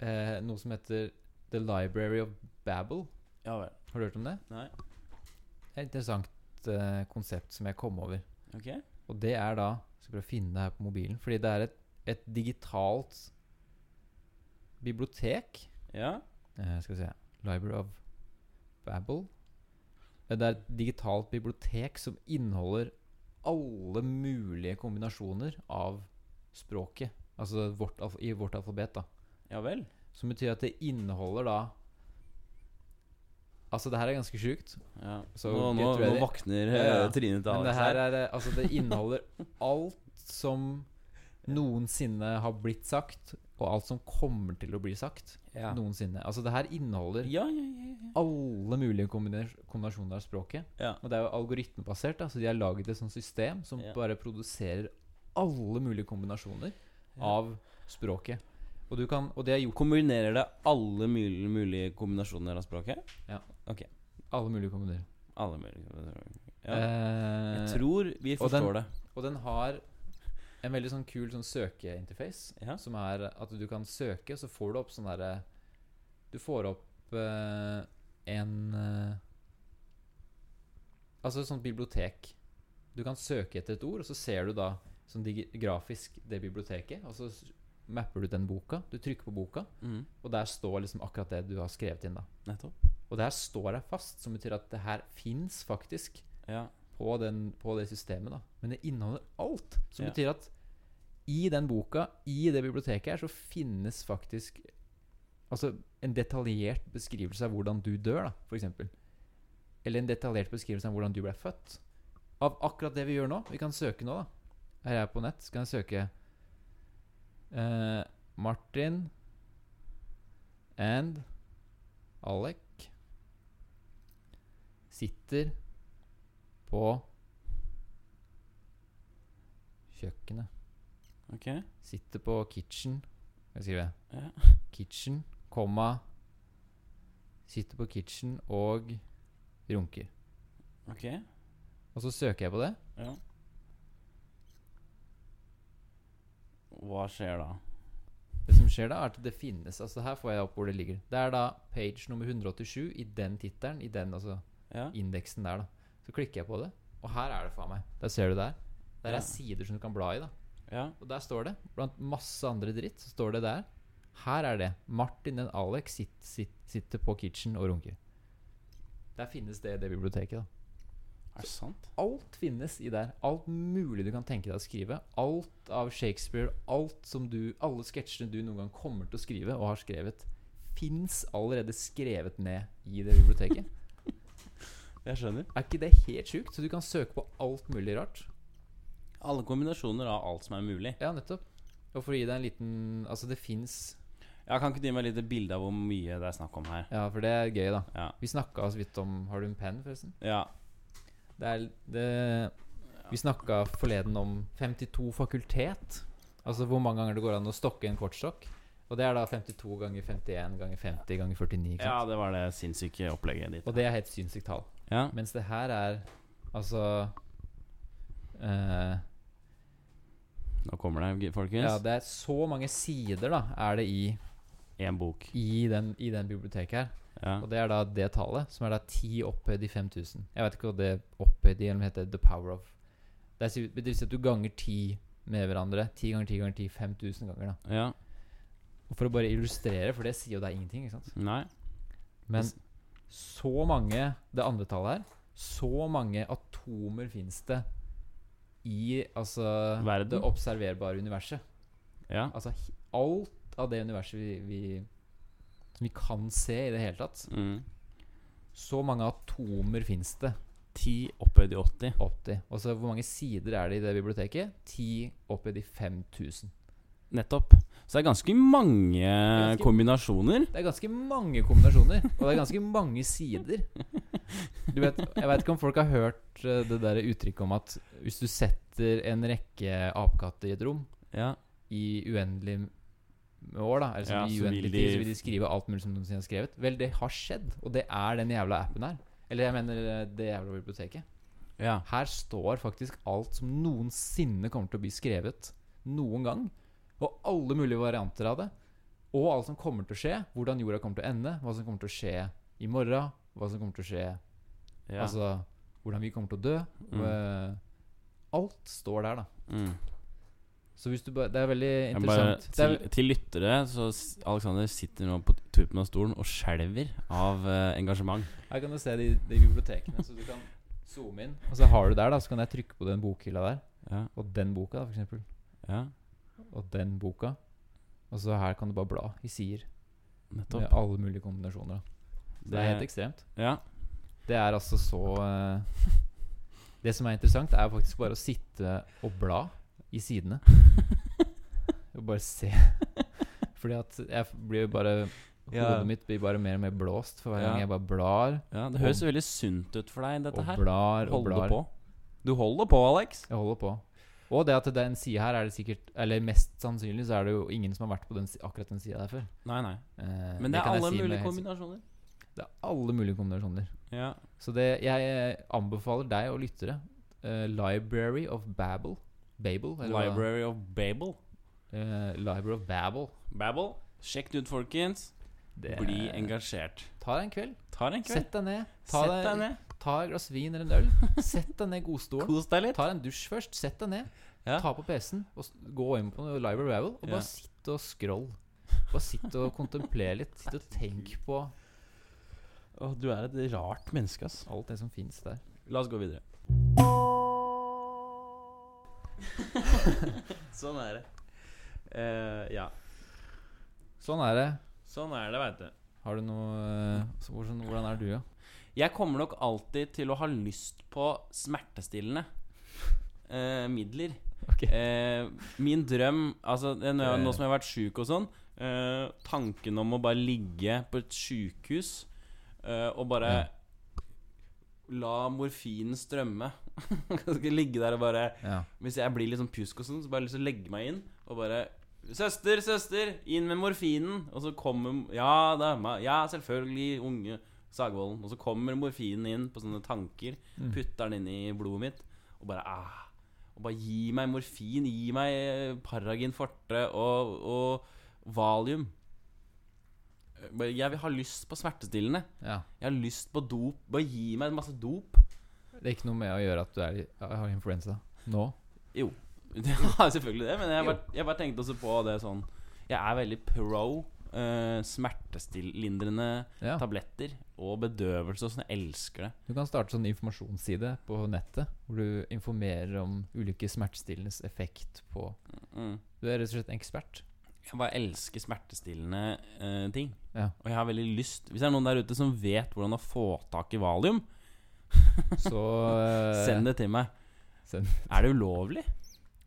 eh, noe som heter The Library of Babel.
Ja vel.
Har du hørt om det?
Nei.
Det er et interessant eh, konsept som jeg kom over.
Ok.
Og det er da Skal prøve å finne det her på mobilen. Fordi det er et, et digitalt bibliotek.
Ja.
Eh, skal vi se Library of Babel. Eh, Det er et digitalt bibliotek som inneholder alle mulige kombinasjoner av språket. Altså vårt, alf- i vårt alfabet, da.
Ja vel.
Som betyr at det inneholder da Altså, det her er ganske sjukt.
Ja.
Så
nå,
get
nå, nå
ready.
våkner eh,
Ja, ja.
trynet til
Men det
Alex
her er eh, Altså, det inneholder alt som noensinne har blitt sagt, og alt som kommer til å bli sagt
ja.
noensinne. Altså, det her inneholder
ja, ja, ja, ja.
alle mulige kombiner- kombinasjoner av språket.
Ja.
Og det er jo algoritmebasert, da, så de har laget et sånt system som
Ja.
bare produserer alle mulige kombinasjoner
Ja.
av språket. Og du kan Og de har gjort
Kombinerer det alle mulige, mulige kombinasjoner av språket?
alle mulige kombinasjoner.
Alle mulige kombinasjoner. Ja.
Eh,
Jeg tror vi
og den-
forstår det.
Og den har en veldig sånn kul sånn søkeinterface,
Ja.
som er at du kan søke, og så får du opp sånn derre Du får opp eh, en eh, Altså et sånt bibliotek. Du kan søke etter et ord, og så ser du da sånn digi- grafisk det biblioteket, og så s- mapper du den boka. Du trykker på boka,
Mm.
og der står liksom akkurat det du har skrevet inn, da.
Nettopp.
Og det her står der fast, som betyr at det her fins faktisk
Ja.
på, den, på det systemet, da. Men det inneholder alt. Som
Ja.
betyr at i den boka, i det biblioteket her, så finnes faktisk Altså en detaljert beskrivelse av hvordan du dør, da, for eksempel. Eller en detaljert beskrivelse av hvordan du ble født. Av akkurat det vi gjør nå. Vi kan søke nå, da. Her er jeg på nett. Så kan jeg søke eh, Martin and Alec sitter på kjøkkenet.
Ok.
Sitter på kitchen. Hva skriver jeg?
Ja.
Kitchen, komma Sitter på kitchen og runker.
Ok.
Og så søker jeg på det.
Ja. Hva skjer da?
Det som skjer da, er at det finnes Altså her får jeg opp hvor det ligger. Det er da page nummer 187 i den tittelen, i den altså
Ja.
indeksen der, da. Så klikker jeg på det, og her er det faen meg. Der ser du der. Der
Ja.
er sider som du kan bla i, da.
Ja.
Og der står det, blant masse andre dritt, så står det der. Her er det. Martin og Alex sitt, sitt, sitter på kitchen og runker. Der finnes det i det biblioteket. da
Er det sant?
Alt finnes i der. Alt mulig du kan tenke deg å skrive. Alt av Shakespeare, alt som du alle sketsjene du noen gang kommer til å skrive, og har skrevet, fins allerede skrevet ned i det biblioteket.
Jeg skjønner.
Er ikke det helt sjukt? Så du kan søke på alt mulig rart.
Alle kombinasjoner av alt som er mulig.
Ja, nettopp. Og for å gi deg en liten Altså, det fins
Ja, Kan ikke du gi meg et lite bilde av hvor mye det er snakk om her?
Ja, for det er gøy, da.
Ja.
Vi snakka så vidt om Har du en penn, forresten?
ja.
Det er det, Vi snakka forleden om 52 fakultet. Altså hvor mange ganger det går an å stokke en kortstokk. Og det er da 52 ganger 51 ganger 50 ganger 49. Ikke
Ja,
sant?
det var det sinnssyke opplegget ditt.
Og det er helt sinnssykt tall.
Ja.
Mens det her er altså eh,
Nå kommer det, folkens.
Ja, det er så mange sider, da, er det i,
Én bok.
i, den, i den biblioteket her.
Ja.
Og det er da det tallet, som er da 10 opphøyd i 5000. Jeg vet ikke hva det opphøyd i eller om det heter the power of. Det er si- det vil si at du ganger 10 med hverandre. 10 ganger 10 ganger 10, 5000 ganger. da.
ja.
Og For å bare illustrere, for det sier jo deg ingenting. ikke sant?
Nei.
Men
Hvis-
så mange Det andre tallet her. Så mange atomer fins det i altså
Verden.
det observerbare universet.
Ja.
Altså he- alt av det universet vi, vi som vi kan se i det hele tatt.
Mm.
Så mange atomer fins det.
10 opphøyd i 80.
80. Og så hvor mange sider er det i det biblioteket? 10 opphøyd i 5000.
Nettopp. Så det er ganske mange
Ganske-
kombinasjoner.
Det er ganske mange kombinasjoner, og det er ganske mange sider. Du vet, jeg vet ikke om folk har hørt eh, det der uttrykket om at hvis du setter en rekke apekatter i et rom
Ja.
i uendelig m- år, da, altså
Ja,
i
så vil
uendelig
de-
tid, så vil de skrive alt mulig som de noensinne har skrevet. Vel, det har skjedd, og det er den jævla appen her. Eller jeg mener eh, det jævla biblioteket.
ja.
Her står faktisk alt som noensinne kommer til å bli skrevet. Noen gang. Og alle mulige varianter av det. Og alt som kommer til å skje. Hvordan jorda kommer til å ende. Hva som kommer til å skje i morgen. Hva som kommer til å skje
ja.
Altså hvordan vi kommer til å dø.
Mm.
eh, Alt står der, da.
mm.
Så hvis du bare Det er veldig
Jeg Bare,
interessant. Det
til,
er,
til lyttere, så s- Alexander sitter nå på tuppen av stolen og skjelver av eh, engasjement.
her kan du se de, de bibliotekene, så du kan zoome inn. Og så har du der, da, så kan jeg trykke på den bokhylla der.
Ja,
Og den boka, da, for eksempel.
ja,
Og den boka. Og så her kan du bare bla i sider.
nettopp.
Med alle mulige kombinasjoner. Da. Så det er helt ekstremt.
ja,
Det er altså så eh, Det som er interessant, er faktisk bare å sitte og bla i sidene. Og bare se. Fordi at jeg blir jo bare
Ja.
Hodet mitt blir bare mer og mer blåst for hver
Ja.
gang jeg bare blar
ja, det høres veldig sunt ut for deg,
og
dette her.
blar og
Holder
blar.
på. Du holder på, Alex.
Jeg holder på. Og det at den sida her er det sikkert Eller mest sannsynlig så er det jo ingen som har vært på den, si- akkurat den sida der før.
Nei, nei.
Eh,
Men det er
kan jeg
alle
si med
mulige
helt-
kombinasjoner.
Det er alle mulige kombinasjoner.
Ja.
Så det, jeg eh, anbefaler deg og lyttere eh, Library of Babel. Babel? eller hva-
Library of Babel.
Eh, Library of Babel.
Babel. Sjekk det ut, folkens.
Det-
Bli engasjert.
Ta deg en kveld.
Ta deg en kveld.
Sett deg ned. Ta
Sett deg ned.
Ta et glass vin eller en øl. Sett deg ned i godstolen.
Kos deg litt.
Ta deg en dusj først. Sett deg ned.
Ja.
Ta på PC-en og s- gå inn på Library of Babel
Ja.
og bare sitt og scroll. Bare sitt og kontemplere litt. Sitt og tenk på
Åh, du er et rart menneske, ass.
alt det som fins der.
La oss gå videre. sånn er det. Eh, ja.
Sånn er det.
Sånn er det, veit du.
Har du noe eh, så hvordan, hvordan er du, ja?
Jeg kommer nok alltid til å ha lyst på smertestillende eh, midler.
Ok.
Eh, min drøm Altså, det er nå,
Det-
nå som jeg har vært sjuk og sånn eh, Tanken om å bare ligge på et sjukehus eh, og bare la morfinen strømme Skal ligge der og bare
ja.
Hvis jeg blir litt sånn pjusk og sånn, så bare har jeg lyst til å legge meg inn og bare Søster, søster, inn med morfinen! Og så kommer Ja da, ma- ja, selvfølgelig, unge Sagvolden. Og så kommer morfinen inn på sånne tanker, putter den inn i blodet mitt, og bare ah, Og bare gi meg morfin, gi meg eh, Paragin forte og, og Valium. Eh, Bare, Jeg vil ha lyst på smertestillende.
ja.
Jeg har lyst på dop. Bare gi meg masse dop.
Det er ikke noe med å gjøre at du er, har influensa nå?
Jo. Det har jeg selvfølgelig det, men jeg bare, jeg bare tenkte også på det sånn Jeg er veldig pro eh, eh, smertestillindrende
Ja.
tabletter og bedøvelse og sånn. Jeg elsker det.
Du kan starte sånn informasjonsside på nettet hvor du informerer om ulike smertestillendes effekt på
Mm.
Du er rett og slett en ekspert.
Jeg bare elsker smertestillende eh, ting.
Ja.
Og jeg har veldig lyst Hvis det er noen der ute som vet hvordan å få tak i valium,
Så eh,
send det til meg.
send-
Er det ulovlig?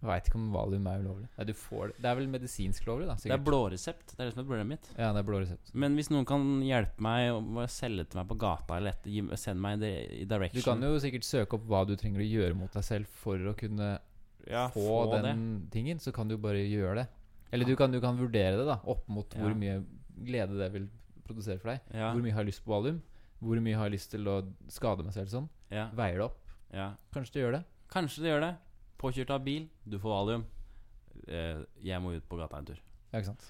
Jeg veit ikke om valium er ulovlig. Nei, du får det. det er vel medisinsk lovlig, da.
Det er
Sikkert.
blå resept. Det er det som er problemet mitt.
ja, det er blå resept.
Men hvis noen kan hjelpe meg og bare selge til meg på gata, eller et, gi- send meg det i
Du
direction
kan jo sikkert søke opp hva du trenger å gjøre mot deg selv for å kunne
ja,
få, den tingen. Så kan du bare gjøre det. Eller du kan, du kan vurdere det da opp mot hvor
Ja.
mye glede det vil produsere for deg.
det. Ja,
Hvor mye har jeg lyst på valium? Hvor mye har jeg lyst til å skade meg selv sånn?
ja,
Veier det opp.
ja.
Kanskje du gjør det.
Kanskje det gjør det. Påkjørt av bil, du får valium. Eh, jeg må ut på gata en tur.
Ja, ikke sant.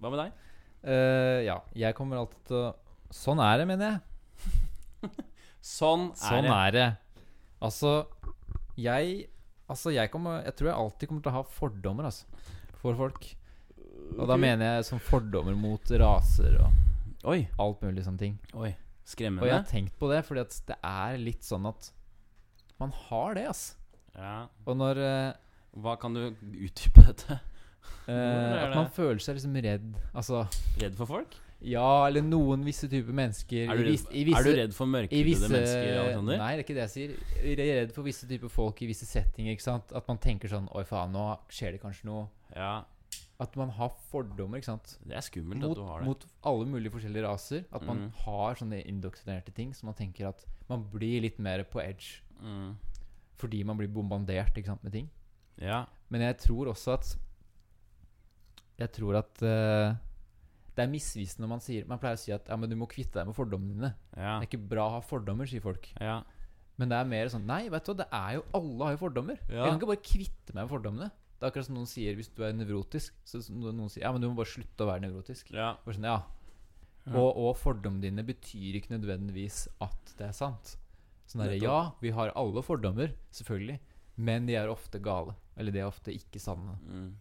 Hva med deg?
Eh, ja, jeg kommer alltid til å Sånn er det, mener jeg.
Sånn er
Sånn
det.
er det. Altså, jeg Altså, jeg kommer Jeg tror jeg alltid kommer til å ha fordommer, altså, for folk. Og da mener jeg sånn fordommer mot raser og
Oi,
alt mulig sånne ting.
oi.
Og jeg
Skremmende.
har tenkt på det, fordi at det er litt sånn at man har det, altså.
Ja.
Og når eh,
Hva kan du utdype dette?
eh,
er
At man
det?
føler seg liksom redd. Altså
Redd for folk?
Ja, eller noen visse typer mennesker
Er du
i
redd,
vis- i visse,
er du redd for
I
mørkhudede
visse
mennesker, Alexander?
Nei, det er ikke det jeg sier. Jeg er redd for visse typer folk i visse settinger. ikke sant? At man tenker sånn Oi, faen, nå skjer det kanskje noe.
Ja,
At man har fordommer ikke sant?
det er skummelt
Mot,
at du har det.
mot alle mulige forskjellige raser. At man
Mhm.
har sånne indoktrinerte ting som man tenker at man blir litt mer på edge
Mm.
fordi man blir bombardert ikke sant, med ting.
Ja.
Men jeg tror også at Jeg tror at eh, det er misvisende når man sier Man pleier å si at ja, men du må kvitte deg med fordommene dine.
Ja.
Det er ikke bra å ha fordommer, sier folk.
ja.
Men det er mer sånn Nei, vet du hva, det er jo alle har jo fordommer.
Ja.
Jeg kan ikke bare kvitte meg med fordommene. Det er akkurat som noen sier hvis du er nevrotisk. Så som noen noen sier Ja, men du må bare slutte å være nevrotisk.
ja.
Bare sånn, ja.
Ja.
Og, og fordommene dine betyr ikke nødvendigvis at det er sant. Sånn derre
Nettopp.
Ja, vi har alle fordommer, selvfølgelig. Men de er ofte gale. Eller de er ofte ikke sanne.
Mm.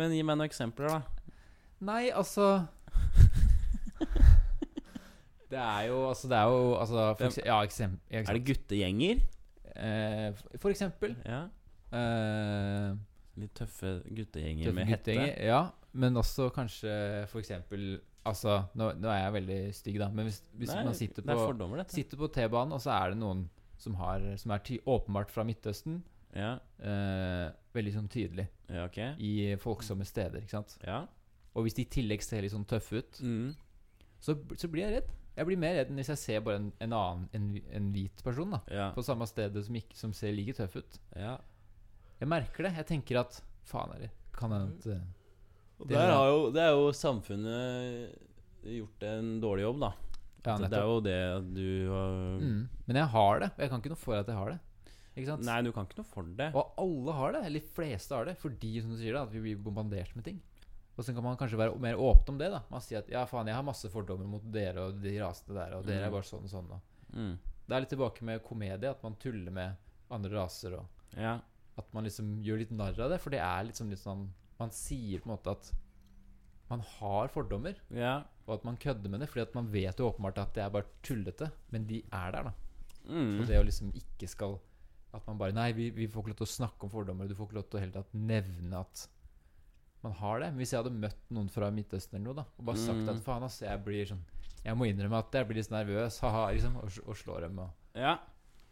Men gi meg noen eksempler, da.
Nei, altså Det er jo Altså, det er jo altså, for
Hvem-
ekse- Ja, eksempel,
Er det guttegjenger?
Eh, For eksempel
Ja.
eh,
Litt tøffe guttegjenger
Tøffe
med hette.
guttegjenger, Ja, men også kanskje for eksempel Altså, nå, nå er jeg veldig stygg, da, men hvis, hvis
Nei,
man sitter
Det
på,
er fordommer, dette.
sitter på T-banen, og så er det noen som, har, som er ty åpenbart fra Midtøsten
Ja.
eh, Veldig sånn tydelig
ja, ok.
i folksomme steder, ikke sant.
Ja.
Og hvis de i tillegg ser litt sånn tøffe ut,
Mm.
så, så blir jeg redd. Jeg blir mer redd enn hvis jeg ser bare en, en annen, en, hvi- en hvit person, da.
Ja.
På samme stedet som, ikke, som ser like tøff ut.
ja.
Jeg merker det. Jeg tenker at faen, er det Kan hende at, eh,
Og
Det
der
er-
har jo, det er jo samfunnet gjort en dårlig jobb, da.
ja,
det er jo det du har-
Mm. Men jeg har det, og jeg kan ikke noe for at jeg har det. Ikke sant?
Nei, du kan ikke noe for det.
Og alle har det, eller de fleste har det, fordi som du sier da, at vi blir bombardert med ting. Og så kan man kanskje være mer åpen om det. da Man sier at ja, faen, jeg har masse fordommer mot dere og de rasene der, og dere
Mm.
er bare sånn og sånn. Og.
Mm.
Det er litt tilbake med komedie, at man tuller med andre raser, og
Ja.
at man liksom gjør litt narr av det. For det er liksom litt sånn Man sier på en måte at man har fordommer,
Ja.
og at man kødder med det, fordi at man vet jo åpenbart at det er bare tullete, men de er der, da. Og
Mm.
det å liksom ikke skal At man bare Nei, vi, vi får ikke lov til å snakke om fordommer. Du får ikke lov til å hele tatt nevne at man har det. Men hvis jeg hadde møtt noen fra Midtøsten eller noe, da, og bare sagt
Mm.
at faen, ass, jeg blir sånn Jeg må innrømme at jeg blir litt sånn nervøs, ha-ha, liksom, og, sl- og slår dem og
Ja.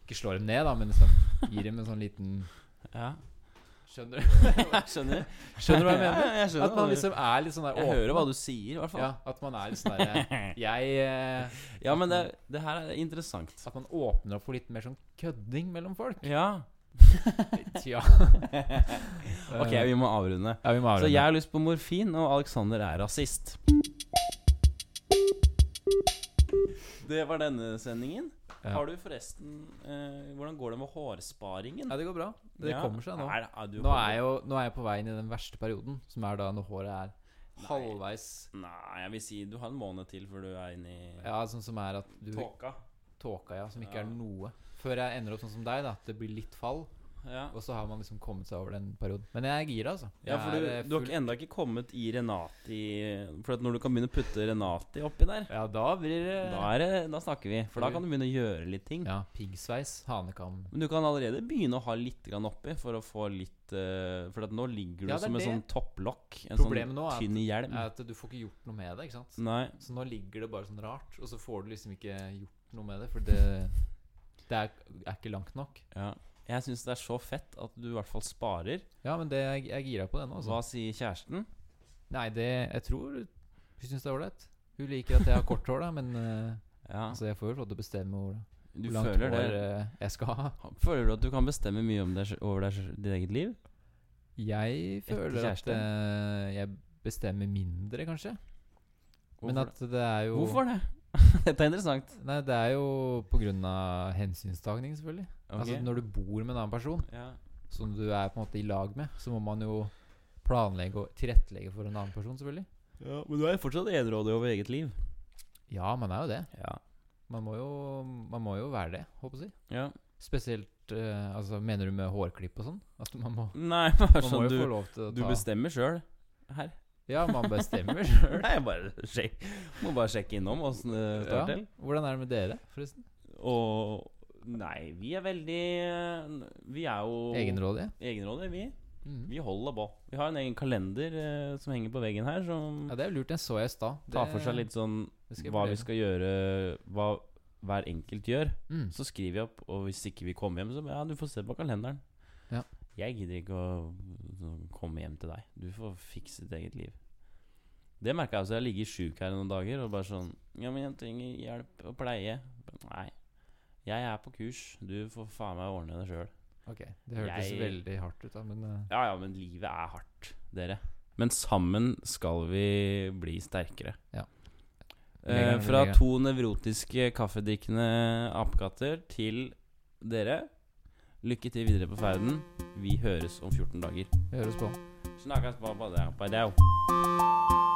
Ikke slår dem ned, da, men liksom gir dem en sånn liten
ja.
Skjønner du?
Skjønner.
Skjønner du hva jeg mener?
Ja, jeg skjønner
At man
hva du-
liksom er litt sånn der
Jeg hører hva du sier, i hvert fall.
Ja, at man er litt sånn derre Jeg eh,
Ja, men det, det her er interessant.
At man åpner opp for litt mer sånn kødding mellom folk.
Ja.
Tja.
Ok, vi må avrunde.
Eh, Ja, vi må
Så
avrunde.
jeg har lyst på morfin, og Alexander er rasist. Det var denne sendingen.
Ja.
Har du forresten eh, Hvordan går det med hårsparingen?
Ja, det går bra. Det
Ja.
kommer seg nå.
Er, er du
Nå er, jeg jo, nå er jeg på vei inn i den verste perioden, som er da når håret er halvveis
Nei, jeg vil si du har en måned til før du er inne i
Ja, sånn som er at du
tåka.
Tåka, ja. Som ikke
Ja.
er noe. Før jeg ender opp sånn som deg, da. At det blir litt fall.
Ja,
Og så har man liksom kommet seg over den perioden. Men jeg er gira, altså. Jeg
ja for du,
er, eh,
du har
full-
ikke- enda ikke kommet i Renati For at når du kan begynne å putte Renati oppi der,
Ja, da blir det
da, er det, da snakker vi. For da kan du begynne å gjøre litt ting.
Ja, piggsveis, hanekam
Men du kan allerede begynne å ha litt grann oppi for å få litt eh, For at nå ligger du
Ja, det er
som en
det.
sånn topplokk. En
Problemet
sånn
nå er at-
tynn hjelm.
er at du får ikke gjort noe med det, ikke sant?
Nei.
Så nå ligger det bare sånn rart, og så får du liksom ikke gjort noe med det, for det, det er, er ikke langt nok.
Ja. Jeg syns det er så fett at du i hvert fall sparer.
Ja, men det, jeg, jeg er gira på det nå. Altså.
Hva sier kjæresten?
Nei, det Jeg tror hun syns det er ålreit. Hun liker at jeg har kort hår, da, men eh,
Ja,
altså, jeg får jo lov til å bestemme hvor,
du
hvor langt
føler
hår
det.
eh, jeg skal ha.
Føler du at du kan bestemme mye om deg, sj- over deg, sj- ditt eget liv?
Jeg
Etter
føler at
kjæresten?
eh, jeg bestemmer mindre, kanskje. Men
Hvorfor
at det er
det?
jo
Hvorfor det? Dette er interessant.
Nei, det er jo på grunn av hensynstagning, selvfølgelig. Altså
Ok.
Når du bor med en annen person
ja.
som du er på en måte i lag med, så må man jo planlegge og tilrettelegge for en annen person, selvfølgelig.
Men du er jo fortsatt enerådig over eget liv.
Ja, man er jo det.
Ja.
Man må jo, man må jo være det, håper jeg. å si.
ja.
Spesielt eh, altså, Mener du med hårklipp og sånn? At man må,
Nei, bare
man må
sånn
jo
du,
få lov til å
du
ta
bestemmer sjøl her.
Ja, man bestemmer sjøl.
Nei, jeg bare sjek, må bare sjekke innom åssen det står
Ja.
til.
Hvordan er det med dere, forresten?
Og Nei, vi er veldig eh, Vi er jo
Egenrådige?
egenrådige, vi.
Mhm.
Vi holder på. Vi har en egen kalender eh, som henger på veggen her, som
Ja, det er jo lurt. Den så jeg i stad.
tar
Det-
for seg litt sånn
det skal jeg
hva vi
vurdere.
skal gjøre, hva hver enkelt gjør.
Mm.
Så skriver jeg opp, og hvis ikke vi kommer hjem, så ja, du får se på kalenderen.
Ja.
Jeg gidder ikke å å komme hjem til deg. Du får fikse ditt eget liv. Det merka jeg også. Jeg har ligget sjuk her noen dager og bare sånn Ja, men jeg trenger hjelp og pleie. Nei. Jeg er på kurs. Du får faen meg ordne det sjøl.
Ok, Det hørtes
Jeg-
veldig hardt ut, da, men eh,
Ja, ja, men livet er hardt, dere. Men sammen skal vi bli sterkere.
Ja.
Eh,
Legger-
fra
legger.
to nevrotiske kaffedrikkende apekatter til dere. Lykke til videre på ferden. Vi høres om 14 dager.
vi høres på.
Snakkes, pappa. Det er pappa. Det er jo.